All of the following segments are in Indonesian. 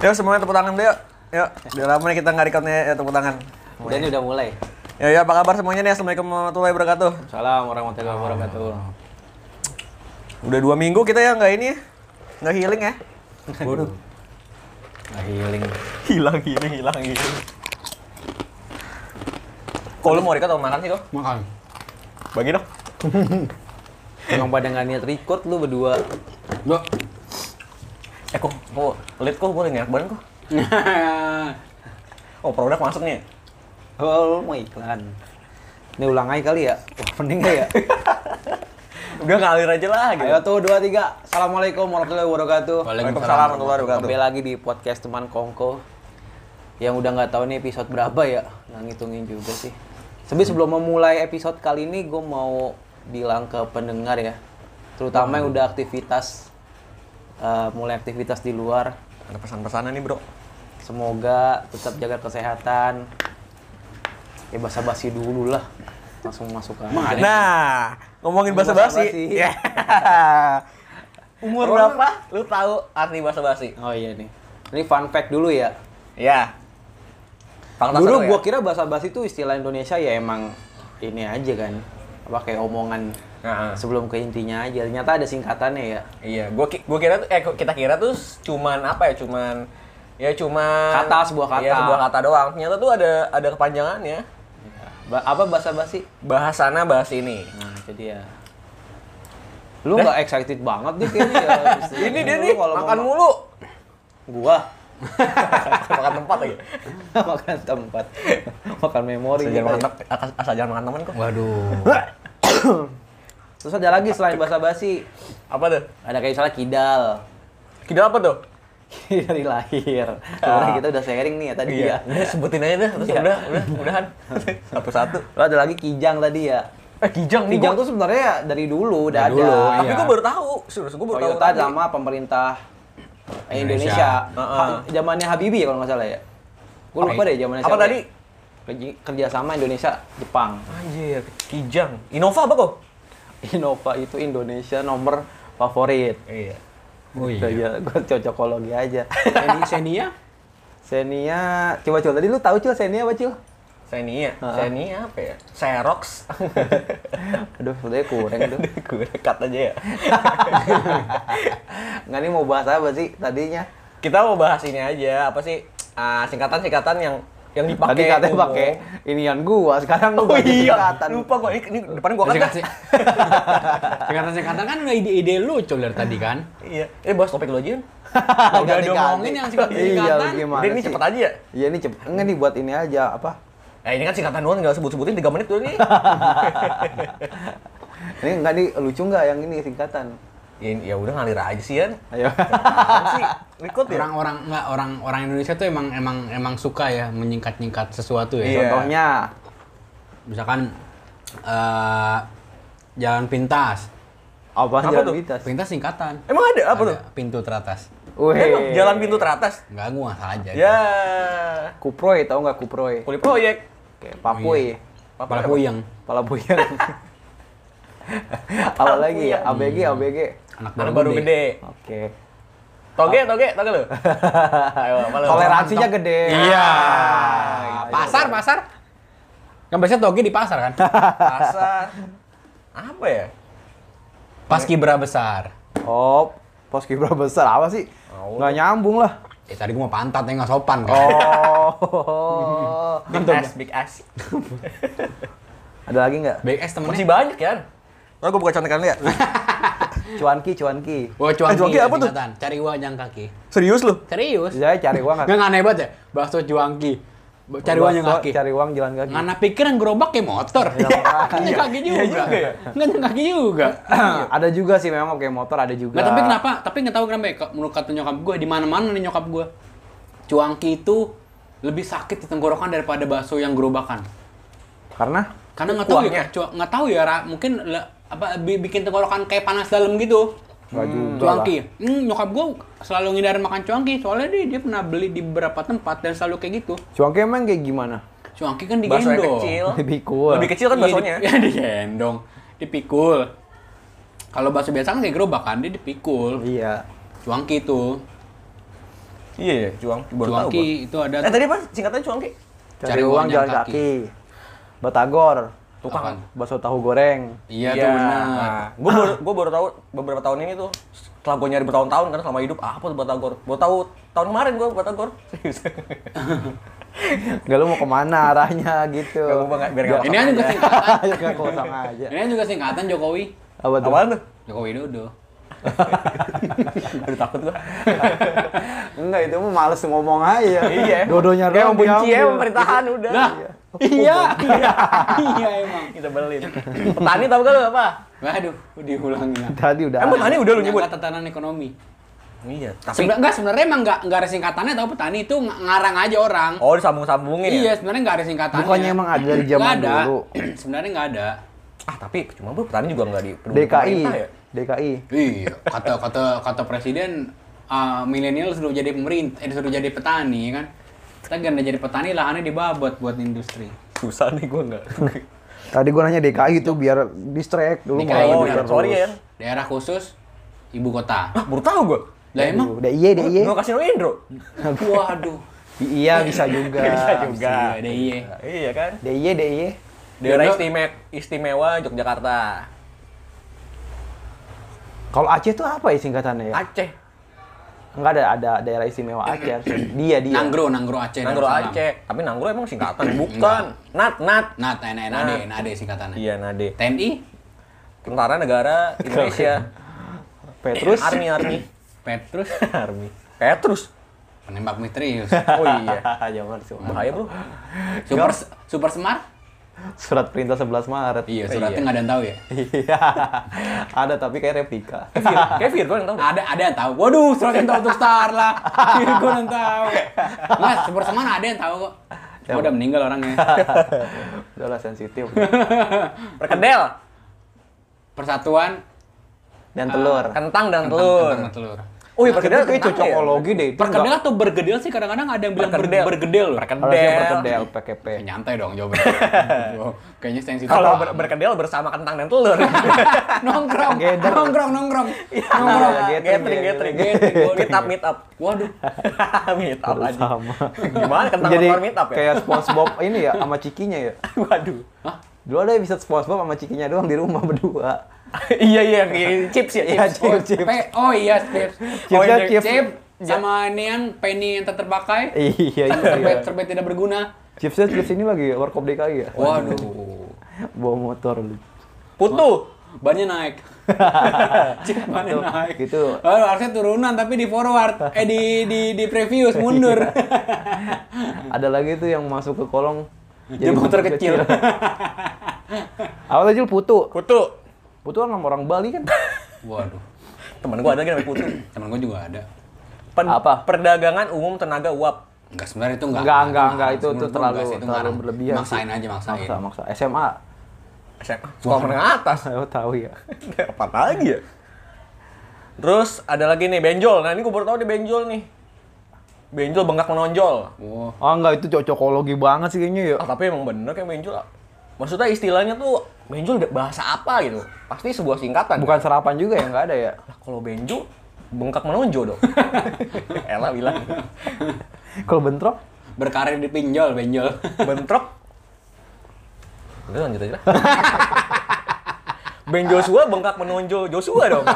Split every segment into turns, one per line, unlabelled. Yuk semuanya tepuk tangan deh yuk. Yuk, udah lama nih kita nggak recordnya ya tepuk tangan.
Udah ini udah mulai.
Ya ya apa kabar semuanya nih? Assalamualaikum warahmatullahi wabarakatuh.
Salam warahmatullahi wabarakatuh.
Udah dua minggu kita ya nggak ini ya, nggak healing ya. Waduh,
Nah, healing.
hilang gini, hilang gini. Kok lu mau record atau makan sih kok?
Makan.
Bagi dong.
Emang pada nggak niat record lu berdua.
Dok.
Eh kok, kok lihat kok boleh nih badan kok. Oh produk masuk nih.
Oh, lu mau iklan. Ini ulang aja kali ya. Opening aja ya.
Udah ngalir aja lah gitu.
Ayo tuh dua tiga. Assalamualaikum warahmatullahi wabarakatuh.
Waalaikumsalam warahmatullahi wabarakatuh.
Kembali lagi di podcast teman Kongko yang udah nggak tahu nih episode berapa ya nggak ngitungin juga sih. Tapi sebelum memulai episode kali ini gue mau bilang ke pendengar ya, terutama yang udah aktivitas eh, mulai aktivitas di luar,
Ada pesan-pesanan nih bro.
semoga tetap jaga kesehatan. Ya basa-basi dulu lah, langsung masuk aja.
Nah, ngomongin bahasa
basa-basi.
basi. Umur
Oh.
berapa? Lu tahu arti bahasa basi?
Oh iya nih, ini fun fact dulu ya.
Ya. Fakta
Dulu
seru ya?
gua kira bahasa basi itu istilah Indonesia ya emang ini aja kan. Apa kayak omongan
Nah,
sebelum ke intinya aja. Ternyata ada singkatannya ya.
iya, gua ki- gua kira tuh eh kita kira tuh cuman apa ya? Cuman ya cuman
Kata, sebuah kata.
Iya, sebuah kata doang. Ternyata tuh ada ada kepanjangannya.
Ba- apa bahasa basi?
Bahasana bahas ini.
Nah, itu dia. Lu nggak excited banget nih kayaknya ya.
Ini dia
Lu
nih,
kalau
makan
mau-
mulu.
Gua
makan tempat lagi.
makan tempat. makan
Asal
memori. gitu
jangan makan
ya.
tempat, asal jangan makan teman kok.
Waduh.
Terus ada lagi selain bahasa basi.
Apa tuh?
Ada kayak misalnya kidal.
Kidal apa tuh?
dari lahir.
Ah.
Sebenarnya kita udah sharing nih ya tadi
Iya.
ya.
Udah sebutin aja deh, terus
Iya.
udah, udah, udahan. Satu-satu.
Lu ada lagi kijang tadi ya.
Eh, kijang nih. gua-
Kijang tuh sebenarnya dari dulu udah
Dari dulu,
ada.
Tapi
iya.
gua baru tahu, serius gua baru tahu.
Toyota
tadi.
sama pemerintah eh, Indonesia.
Indonesia.
Heeh.
Ha- Zamannya Habibie ya kalau nggak salah ya. Gue lupa
Apa-
deh zamannya
apa
siapa
tadi?
ya. Kerj- Kerjasama Indonesia Jepang.
Anjir, kijang. Innova apa kok?
Innova itu Indonesia nomor favorit.
Iya.
Oh iya.
Iya. Gue cocokologi aja.
Seni Senia?
Xenia, coba coba tadi lu tahu cil Xenia apa cil?
Xenia,
Heeh.
Xenia apa ya? Xerox.
Aduh, sebenarnya kurang tuh.
Gue dekat aja ya.
Nggak nih mau bahas apa sih tadinya?
Kita mau bahas ini aja, apa sih? ah, singkatan-singkatan yang yang dipakai.
Tadi katanya
umum.
pakai inian gua, sekarang lu
Oh
pakai
iya,
singkatan.
lupa gua ini, ini depan gua kan.
Singkat- Singkatan singkatan kan nggak ide-ide lucu dari tadi kan?
Iya. Eh bahas topik lo Jun.
Udah
Ganti-ganti.
diomongin yang
Iya,
singkatan-singkatan.
lu gimana
Jadi ini
sih?
cepet aja ya.
Iya ini cepet. Enggak nih buat ini aja apa?
Eh ini kan singkatan doang nggak sebut-sebutin 3 menit dulu nih.
Ini enggak nih lucu enggak yang ini singkatan?
ya, ya udah ngalir aja sih Yan.
Ayo.
Apaan sih? Record ya?
Orang-orang nggak orang-orang Indonesia tuh emang emang emang suka ya menyingkat-nyingkat sesuatu ya.
Iya.
Contohnya
Misalkan eh, jalan pintas.
apa,
Apa
jalan
tuh?
pintas?
Pintas singkatan.
Emang ada apa
Ada
tuh?
Pintu teratas.
Eh, tuh, jalan pintu teratas.
Nggak gua salah aja.
Ya.
Kuproy tahu enggak kuproy?
Kuli proyek.
Kayak
Oh, iya.
papoy.
Kepala puyeng.
Pala buyar. Apa lagi ya? ABG
Iya.
ABG.
Anak
Anak baru gede.
Oke.
Toge, toge, toge lu. Ayo, apa lu?
Toleransinya gede.
Iya.
Ah,
pasar, pasar. Kan biasanya toge di pasar kan?
Pasar. Apa ya?
Paskibra besar.
Oh, pos kibra besar apa sih?
Mau.
Enggak nyambung lah.
Eh tadi gua mau pantat ya nggak sopan kan.
Oh.
Big ass, big ass.
Ada lagi nggak?
BS temennya.
Masih banyak ya. Lo gue buka contekan ya. lihat.
Cuanki, cuanki.
Wah, cuanki,
Eh, cuanki
ya,
apa tuh?
singkatan. Cari uang yang kaki.
Serius lu?
Serius?
Saya cari uang
Nggak nggak aneh banget ya? Bakso cuanki. B- Cari uang yang
Bakso,
kaki.
Cari uang jalan kaki.
Ngana pikir yang gerobak kayak motor. Kan yang kaki juga.
juga ya.
Nggak yang kaki juga.
ada juga sih memang kayak motor ada juga.
Nggak, tapi kenapa? Tapi nggak tahu kenapa ya, kok menurut kata nyokap gue, di mana mana nih nyokap gue. Cuanki itu lebih sakit di tenggorokan daripada bakso yang gerobakan.
Karena
Karena nggak tahu
Kuahnya.
ya, cua- nggak tahu ya, Ra. mungkin le- apa bi- bikin tenggorokan kayak panas dalam gitu.
Nggak juga
cuangki. Hmm, nyokap gue selalu ngindarin makan cuangki, soalnya dia, dia pernah beli di beberapa tempat dan selalu kayak gitu.
cuanki emang kayak gimana?
Cuangki kan digendong.
Bakso yang kecil.
Lebih cool.
Lebih kecil kan
Iya, di-
baksonya.
Iya, digendong. Dipikul. Kalau bakso biasa kan kayak gerobak kan, dia dipikul.
Iya.
Cuangki itu.
Iya ya, cuang. Baru tahu gua.
Cuangki itu ada
Eh tadi apa? Singkatnya cuangki.
Cari, uang jalan kaki. Batagor,
Apaan?
Tukang.
bakso tahu goreng.
Iya tuh benar.
Nah, gue baru gue baru tahu beberapa tahun ini tuh setelah gue nyari bertahun-tahun karena selama hidup apa tuh batagor. Gue tahu tahun kemarin gue batagor. Serius.
Enggak lu mau kemana arahnya gitu.
Nggak apa-apa, nggak- biar nggak
Ini aja juga singkatan.
Gak kosong aja.
Ini juga singkatan Jokowi.
Apa tuh?
Apaan tuh?
Joko Widodo.
Aduh takut gue.
Enggak, itu mah males ngomong aja.
Iya.
Dodonya
Kayak
doang
mau benci ya
diambil.
pemerintahan udah.
Nah, iya, iya, iya emang.
Kita belin. Petani tahu gak lu apa?
Waduh, diulangi lah.
Tadi udah.
Oh,
Emang petani udah lu nyebut.
Penyangga tatanan ekonomi.
Iya, tapi
Sebenarnya enggak sebenarnya emang enggak enggak ada singkatannya tahu petani itu ng- ngarang aja orang.
Oh, disambung-sambungin ya?
iya, sebenarnya enggak ada singkatannya.
Bukannya emang ada dari zaman
Nggak ada.
dulu.
sebenarnya enggak ada.
Ah, tapi cuma bu petani juga nggak di peduli
DKI.
pemerintah ya?
DKI.
Iya, kata kata kata presiden ah, milenial suruh jadi pemerintah, eh, suruh jadi petani kan. Kita ganda jadi petani lahannya dibabat buat industri.
Susah nih gue nggak.
Tadi gua nanya DKI itu biar distract dulu
DKI,
malah
Oh,
gua
iya,
terus.
sorry ya.
Daerah khusus ibu kota.
Ah, baru tahu gue.
Lah emang
Udah iya, udah iya.
Mau kasih lo Indro?
waduh.
Iya bisa juga.
Bisa juga.
Ada iya.
Ah, Iya kan?
Deh iya, deh iya.
Daerah
Indro.
istimewa, istimewa Yogyakarta.
Kalau Aceh tuh apa ya singkatannya ya?
Aceh.
Enggak ada ada daerah istimewa Aceh. harusnya. Dia dia.
Nanggro, Nanggro Aceh.
Nanggro
Darussalam.
Aceh. Tapi Nanggro emang singkatan. Bukan. Nat, Nat.
Nah, TNI, NAD, NAD singkatannya.
Iya, Nade.
TNI,
Tentara Negara Indonesia.
Petrus.
Army, Army.
Petrus,
Army. Petrus.
penembak misterius.
Oh iya.
Jangan sih.
Bahaya, bro.
Super, super smart?
Surat perintah 11 Maret.
Iya,
Oh
suratnya nggak ada yang tahu ya.
Iya. ada tapi kayak replika.
Kayak Virgo yang tahu. deh.
Ada, ada yang tahu. Waduh, surat yang tahu untuk star lah. Virgo yang tahu. Mas, super smart ada yang tahu kok. Cuma udah meninggal orangnya.
Udahlah sensitif.
Perkedel.
Persatuan
Dan telur.
Kentang dan
kentang-
telur.
kentang dan telur.
Oh iya,
Perkedel
perkedel
kayak
kentang ya?
cocokologi deh. Itu
Perkedel atau bergedel sih kadang-kadang ada yang bilang ber-
Perkedel.
bergedel loh.
Perkedel.
Harusnya perkedel Iya, PKP.
Nyantai dong jawaban. Wow, Kayaknya sensitif.
Kalau
banget.
ber- berkedel bersama kentang dan telur.
nongkrong,
Gather.
nongkrong, nongkrong.
Iya.
Nongkrong.
Gathering, gathering.
Gathering, waduh.
Meet up, meet up.
Waduh,
meet up aja.
Sama.
Gimana kentang
Jadi
dan telur meet up ya?
kayak SpongeBob ini ya sama cikinya ya.
Waduh.
Dulu ada episode SpongeBob sama cikinya doang di rumah berdua.
iya iya yang chips ya
Iya,
chips.
Chip, chip.
oh, pe- oh iya, Chip.
Oh,
Chipsnya
iya,
chip.
Chip sama ini yang penny yang tak terpakai,
Iya, iya.
terbet, terbet tidak berguna.
Chipsnya chips ini lagi warkop DKI ya.
Waduh,
Bawa motor lu.
Putu.
bannya naik. Chip bannya naik.
gitu.
Aduh, harusnya turunan tapi di forward, eh di di di previous mundur.
Iya. Ada lagi tuh yang masuk ke kolong
Jadi motor kecil.
Awal aja putu.
Putu.
Putu kan nama orang Bali kan.
Waduh,
Temen gua ada lagi namanya Putu.
temen gue juga ada.
Pen-
Apa?
Perdagangan umum tenaga uap.
Enggak sebenarnya itu enggak.
Enggak, enggak, enggak itu
Menurut
itu
gua
terlalu
enggak sih, itu
terlalu
ngarang.
berlebihan. sih.
Maksain aja, maksain.
Maksa, maksa. SMA.
Saya- Sekolah menengah atas.
Saya tahu ya.
Apa lagi ya? Terus ada lagi nih benjol. Nah ini gua baru tahu di benjol nih. Benjol bengkak menonjol.
Wah,
Oh enggak itu cocokologi banget sih kayaknya ya.
Ah, tapi emang bener kayak benjol. Maksudnya istilahnya tuh benjol bahasa apa gitu? Pasti sebuah singkatan.
Bukan sarapan juga ya enggak ada ya.
Lah, kalau benjo bengkak menonjol dong. Ella bilang.
Kalau bentrok
berkarir di pinjol, benjol.
bentrok udah lanjut aja lah Ben Joshua bengkak menonjol Joshua dong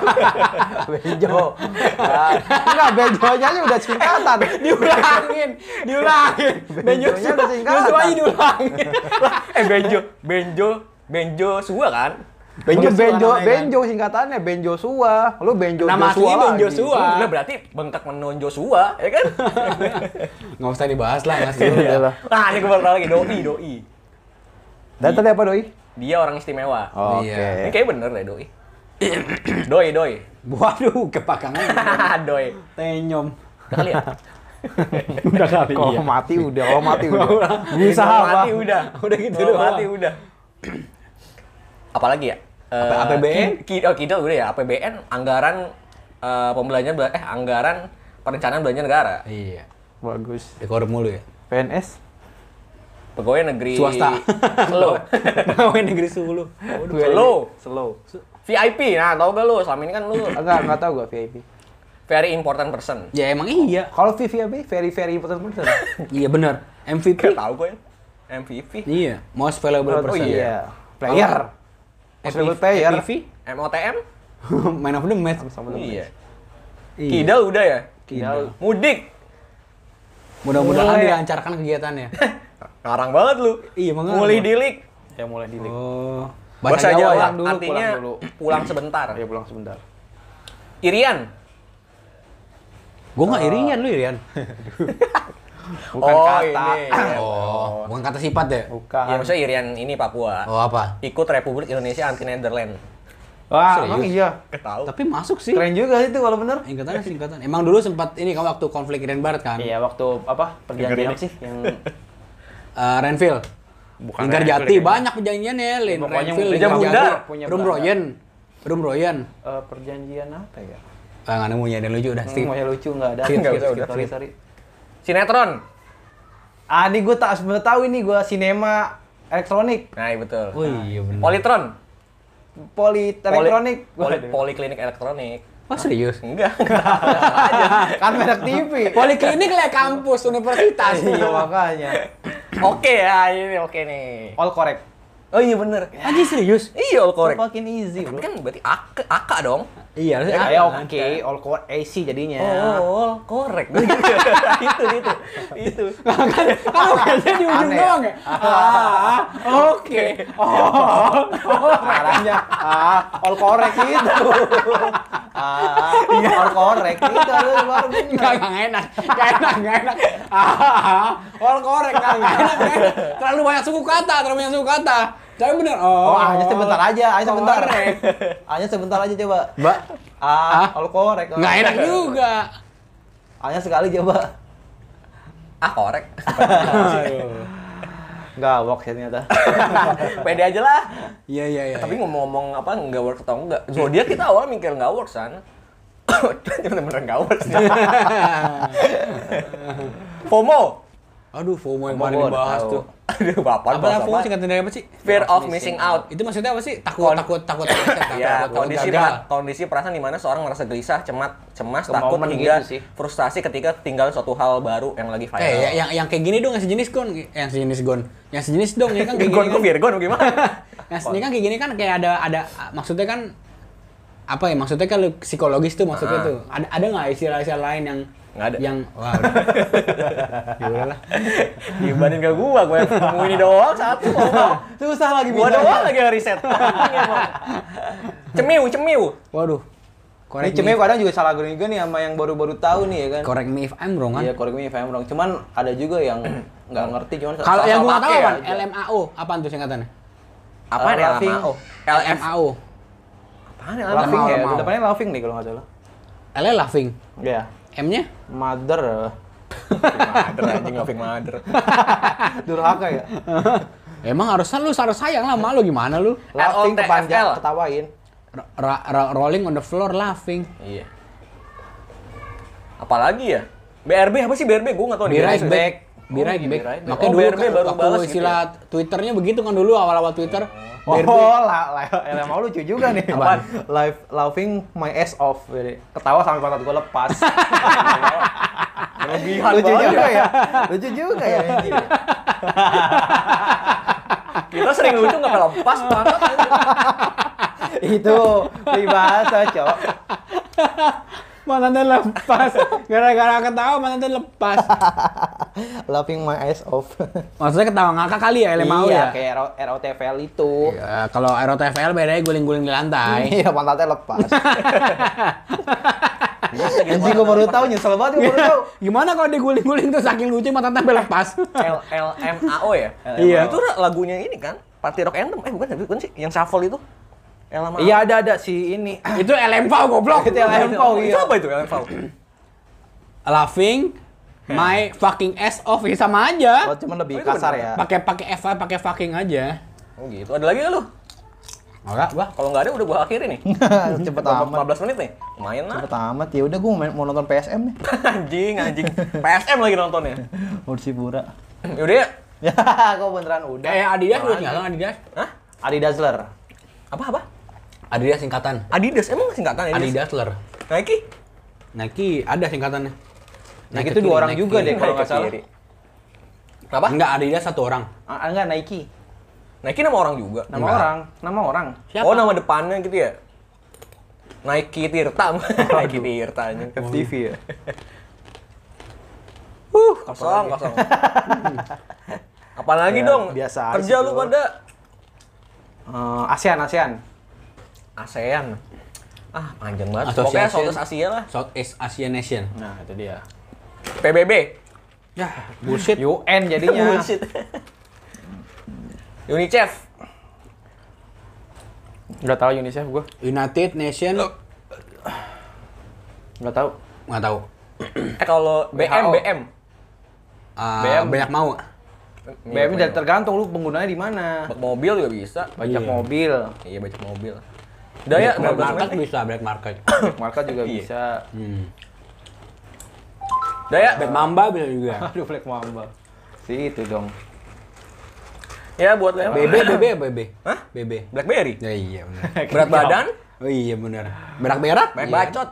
bejo. Nah, enggak bejonya aja udah singkatan.
diulangin, diulangin.
Benjolnya
Benjol
udah singkatan.
Joshua aja diulangin.
eh Benjo Benjo Benjo Joshua kan
Benjo
Joshua
benjo
namanya kan?
benjo singkatannya benjo sua. Lu benjo
Nama
Joshua.
aslinya Ben
lagi. Iya.
Joshua. Wah.
Udah berarti bengkak menonjol Joshua ya kan
Nggak usah dibahas lah, Mas.
Iya lah.
nah ini gue baru tahu lagi doi doi
Dan tadi apa ya, doi?
dia orang istimewa ini
Iya.
kayaknya bener deh doi doi doi
Waduh, kepakangan.
doi
Tenyom.
udah kali ya
Udah kali
Kalau Oh, mati udah, kalau mati udah. Bisa
Udah
apa?
mati udah
Udah gitu
Udah
doang.
mati udah apalagi ya Eh,
APBN?
ki- ki- oh kidal udah ya APBN anggaran eh, pembelanjaan bela- eh anggaran perencanaan belanja negara
Iya.
Bagus.
Dekor mulu ya.
PNS?
pegawai negeri
Swasta.
slow
Pegawai negeri Sulu.
slow
Slow.
VIP nah tau gak lu selama ini kan lu
Enggak, enggak tahu gua VIP.
Very important person.
Ya emang iya.
Kalau VVIP very very important person.
Iya benar.
Gak
MVP.
tahu gue. MVP.
Iya. Most valuable
Oh
person. Iya.
iya. Player. Most valuable player.
MVP.
MOTM?
Man of the match.
Iya.
Iya.
Kidal udah ya?
Kidal.
Mudik.
Mudah-mudahan
Mulai.
dilancarkan kegiatannya.
Ngarang banget lu.
Iya, makanya.
Mulih dilik.
Ya mulai di link.
Oh.
Bahasa Jawa,
ya?
pulang dulu,
artinya
pulang dulu.
pulang sebentar.
Oh. Iya.
Ya pulang sebentar.
Irian.
Gue nggak irian lu irian.
Bukan
oh,
kata.
ini.
Oh. Bukan kata sifat ya.
Bukan.
Ya maksudnya Irian ini Papua.
Oh apa?
Ikut Republik Indonesia Anti Netherland.
Wah,
Serius?
emang iya.
Ketahu.
Tapi masuk sih.
Keren juga sih itu kalau bener.
Singkatannya singkatan. Emang dulu sempat ini kan waktu konflik Irian Barat kan?
Iya, waktu apa? Perjanjian apa sih yang
Eh, Renville.
Bukan
Lingkar
Renville,
Jati
kayaknya.
banyak perjanjiannya, Lin.
Pokoknya
Renville,
punya
Lingkar
Bunda.
Jati,
Punya
Rum
Belanda.
Royen, Rum Royen.
eh, perjanjian apa ya?
Ah, nggak nemu ya, ada yang lucu udah.
Hmm,
skip.
maunya lucu nggak ada.
Skip, nggak
Skip,
usah,
skip,
udah,
sorry,
skip.
sorry.
Sinetron.
Ah, ini gue tak sebenarnya tahu ini gue sinema elektronik,
Nah, iya betul.
Oh iya benar.
Politron.
poli elektronik.
Poli, poliklinik elektronik.
Oh serius?
Enggak, enggak.
kan merek TV.
Poliklinik lah kampus universitas.
iya makanya.
oke ya, ini oke nih.
All correct.
Oh iya bener.
Aji serius?
Iya, all correct.
Fucking easy,
Tapi
bro.
kan berarti aka, aka dong.
Iya, harusnya
Ya,
A-
oke, all correct AC jadinya.
Oh, korek. itu, itu, itu.
Kan bukannya di ujung
Aneh ya?
doang ya? Ah, oke. oh,
Arahnya ah, all correct gitu. ah,
Iya.
all correct gitu harus baru
Enggak,
bener.
enggak enak. Enggak enak, enggak enak. Ah, all correct, enggak enggak enak, enggak enak. Terlalu banyak suku kata, terlalu banyak suku kata. Saya bener.
Oh, hanya sebentar aja, hanya sebentar.
Correct.
Hanya sebentar aja coba. Mbak. Ah, all correct.
Enggak enak juga.
Hanya sekali coba.
Ah, korek.
Enggak works ya ternyata.
Pede aja lah.
Iya, iya, iya.
Tapi ngomong-ngomong apa nggak work atau enggak? Zodiak kita awal mikir nggak work san. Bener-bener nggak work.
Iya.
FOMO.
Aduh, FOMO yang
FOMO
kemarin
gua
dibahas
tahu.
tuh.
Aduh, bapak
Apa
bahasa
FOMO
apa?
singkatan dari apa sih?
Fear of missing out.
Itu maksudnya apa sih? Takut, takut, takut, takut, takut,
Ya,
takut
kondisi
gagal.
pera- kondisi perasaan di mana seorang merasa gelisah, cemat, cemas,
Ke
takut
momen
hingga
gitu sih.
frustasi ketika ketinggalan suatu hal baru yang lagi viral.
Eh, ya- yang yang kayak gini dong, yang sejenis gon, yang sejenis gon, yang sejenis dong, ini kan kayak
Virgon,
gini.
kok
kan.
Virgon gimana?
Nah, ini kan kayak gini kan kayak ada ada maksudnya kan apa ya maksudnya kan lu psikologis tuh maksudnya
Ah.
tuh ada ada nggak istilah-istilah lain yang
Nggak ada.
yang wah udah. ya udah lah
Dibanding ke gua, gua yang nemu ini doang satu. Mau.
Susah lagi
Gua
bintangnya.
doang lagi yang riset. cemiu, cemiu.
waduh
Ini
correct me,
cemil kadang juga salah gue juga nih sama yang baru-baru tahu nih ya kan.
if- correct me if I'm wrong kan
Iya, correct me if I'm wrong. Cuman ada juga yang nggak ngerti cuman
kalau yang gua nggak tahu
pakai
apa
aja.
LMAO apaan tuh singkatannya
Apa
Eh,
nih
laughing.
LMAO? LF.
LMAO
ya, Apaan nih LMAO?
laughing ya.
Lama-lama.
Depannya laughing nih kalau nggak salah.
L laughing
Iya.
M nya
Mother.
Mother anjing, laughing mother.
Durhaka ya.
emang harusnya lu harus sayang lah sama lu gimana lu
Laughing
LOTFL.
kepanjang ketawain.
Ra- ra- ra- rolling on the floor laughing
Iya. Apalagi ya? BRB apa sih BRB? Gua nggak tahu.
Be
nih.
right
BRB.
back. Be
Oh,
right
be
back.
right back.
Makanya
Oh,
dulu
BRB
kan
baru balas
waktu
gitu
istilah Twitternya begitu kan dulu awal-awal Twitter.
Oh,
BRB.
lah, lah, lah, mau lucu juga nih.
Apaan?
Live laughing my ass off. Jadi, Ketawa sampai pantat gue lepas.
Berlebihan
lucu
banget
juga
ya.
ya. Lucu juga ya. anjing.
Kita sering lucu nggak lepas banget.
Itu pribahasa, Cok.
Mantan dia lepas. Gara-gara ketawa mantan dia lepas.
Laughing my ass off.
Maksudnya ketawa ngakak kali ya LMAO
iya,
ya?
kayak RO- ROTVL itu.
Ya, kalau ROTFL bedanya guling-guling di lantai.
Iya, pantatnya lepas. Anjing gue baru tahu nyesel banget gue baru tahu.
Gimana kalau dia guling-guling tuh saking lucu mantan sampai lepas?
L LMAO ya?
Iya.
Itu lagunya ini kan? Party Rock Anthem. Eh bukan, bukan sih. Yang shuffle itu. LMAO.
Iya ada ada si ini.
Itu LMVAO goblok.
Itu LMVAO,
Itu
iya.
apa itu LMAO?
Laughing my fucking ass off ya sama
Oh,
aja.
cuman
Oh,
lebih
itu
kasar
beneran.
ya.
Pakai pakai F pakai fucking aja.
Oh gitu. Ada lagi nggak lu?
Enggak,
Wah, kalau nggak ada udah gua akhirin nih.
Cepet
Udah
amat.
15 menit nih. Lumayan lah.
Cepet amat. Ya udah gue mau, main- mau nonton PSM nih.
anjing, anjing. PSM lagi nontonnya.
Persipura.
Yaudah ya.
Ya, kok beneran udah.
Eh Adidas udah nyala Adidas.
Hah?
Adi Dazzler.
Apa apa?
Adidas singkatan.
Adidas emang singkatan Adidas?
Adidasler.
Nike?
Nike ada singkatannya.
Nike itu dua orang juga deh kalau nggak salah.
Kenapa?
Enggak, Adidas satu orang.
Ah, enggak Nike.
Nike nama orang juga.
Nama
Enggak.
orang, nama orang.
Siapa?
Oh, nama depannya gitu ya? Nike Tirta. Nike Tirta anjing.
FTV ya.
Uh, kosong, kosong. Apaan lagi
Ya,
dong?
biasa aja
Kerja
sih,
lu
Bro.
pada
Eh, ASEAN, ASEAN.
ASEAN. Ah, panjang banget.
Asosiasi-
Pokoknya Southeast Asia lah.
Southeast Asian Nation.
Nah, itu dia.
PBB.
Ya, bullshit.
UN jadinya.
Bullshit. UNICEF.
Enggak tahu UNICEF gua.
United Nation.
Enggak tahu.
Nggak tahu.
Eh kalau BM,
WHO.
BM.
Ah,
BM.
banyak mau.
BM dan tergantung lu penggunanya di mana.
Bak mobil juga bisa.
Banyak
Iya.
mobil,
Iya, banyak mobil. Daya
Black
15
market
menit.
bisa, black market.
market juga
Iya.
bisa.
Hmm.
Daya.
Black Mamba bisa juga.
Aduh, Black Mamba. Si itu dong.
Ya buat lo.
BB, BB, BB.
Hah?
BB.
BlackBerry.
Ya iya benar.
Berat badan,
Oh iya benar. Berak-berak?
banyak
Iya.
bacot.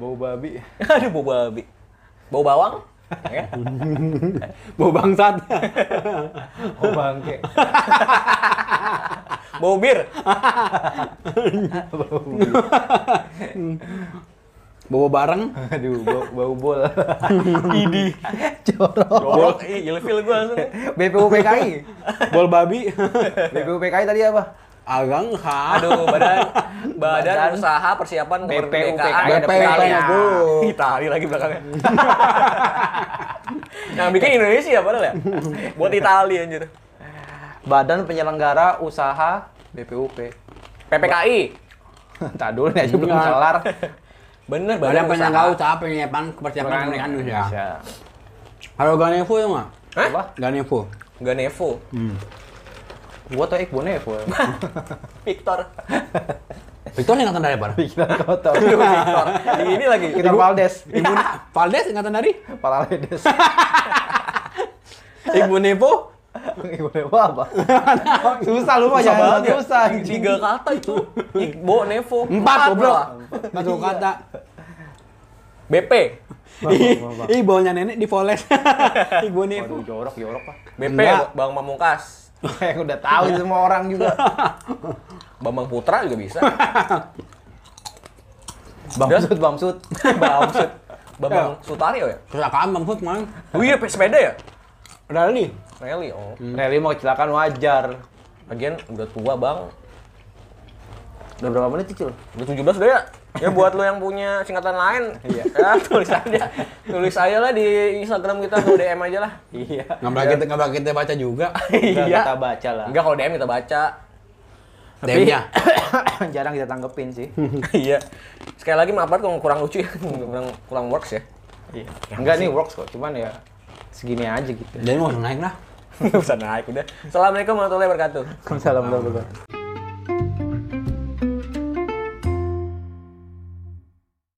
Bau babi.
Aduh, bau babi. Bau bawang? Ya.
Mau bangsat.
Bau Oh, bangke.
Bau bir.
Bawa bareng.
Aduh, bau, bau bol.
Idi.
Jorok.
Jorok, ih, ilfil gue langsung.
BPUPKI.
Bol babi.
BPUPKI tadi apa?
Agang ha.
Aduh, badan badan,
Badan.
usaha persiapan
BPUPKI
kemerdekaan. Ada ya.
ada
PKI.
PKI.
Bro.
Ih, Itali lagi belakangnya. Yang bikin Indonesia padahal ya. Buat Itali anjir.
Badan Penyelenggara Usaha BPUP.
PPKI.
Tak dulu nih aja belum
Enggak.
kelar.
Bener usaha.
Badan penyangga usaha penyiapan kepersiapan kemerdekaan Indonesia.
Bisa.
Halo Ganevo ya nggak?
Hah?
Apa?
Ganevo.
Ganevo.
Hmm.
Gua tau Iqbal Nevo.
Victor.
Victor ingatan dari apa?
Pikiran kotor.
Aduh, Victor. Ini lagi.
Kita Valdes,
Ibu Valdes ingatan dari?
Paraledes.
Ibu Nevo.
Iqbal Nevo apa? Susah lu mah jangan
ya.
susah. anjing.
Tiga kata itu. Iqbo, Nevo.
Empat goblok.
malah.
Satu kata.
BP.
Ih, Ih, baunya nenek di Voles. Ibu Nevo.
Aduh, jorok, jorok lah.
BP,
Enggak.
Bang Mamungkas.
Yang udah tahu semua orang juga.
Bambang Putra juga bisa.
Bamsud, Bamsud.
Bamsud. Bambang Sutario ya?
Kecelakaan Bang Fut kemarin.
Oh iya, sepeda ya?
Rally.
Rally, oh.
Rally mau kecelakaan wajar.
Lagian udah tua bang.
Udah berapa menit cicil?
Udah 17 udah ya? Ya buat lo yang punya singkatan lain,
Iya.
ya tulis aja. Tulis aja lah di Instagram kita, tuh DM aja lah.
Iya.
Nggak bakal kita, nggak bakal kita baca juga.
Udah
Iya.
kita baca lah.
Enggak kalau DM kita baca.
DM-nya.
Jarang kita tanggepin sih.
Iya. Sekali lagi maaf banget kalau kurang lucu ya, kurang, kurang works ya.
Iya. Enggak nih works kok, cuman ya segini aja gitu.
Jadi mau naik lah.
Bisa naik udah. Assalamualaikum warahmatullahi wabarakatuh.
Assalamualaikum.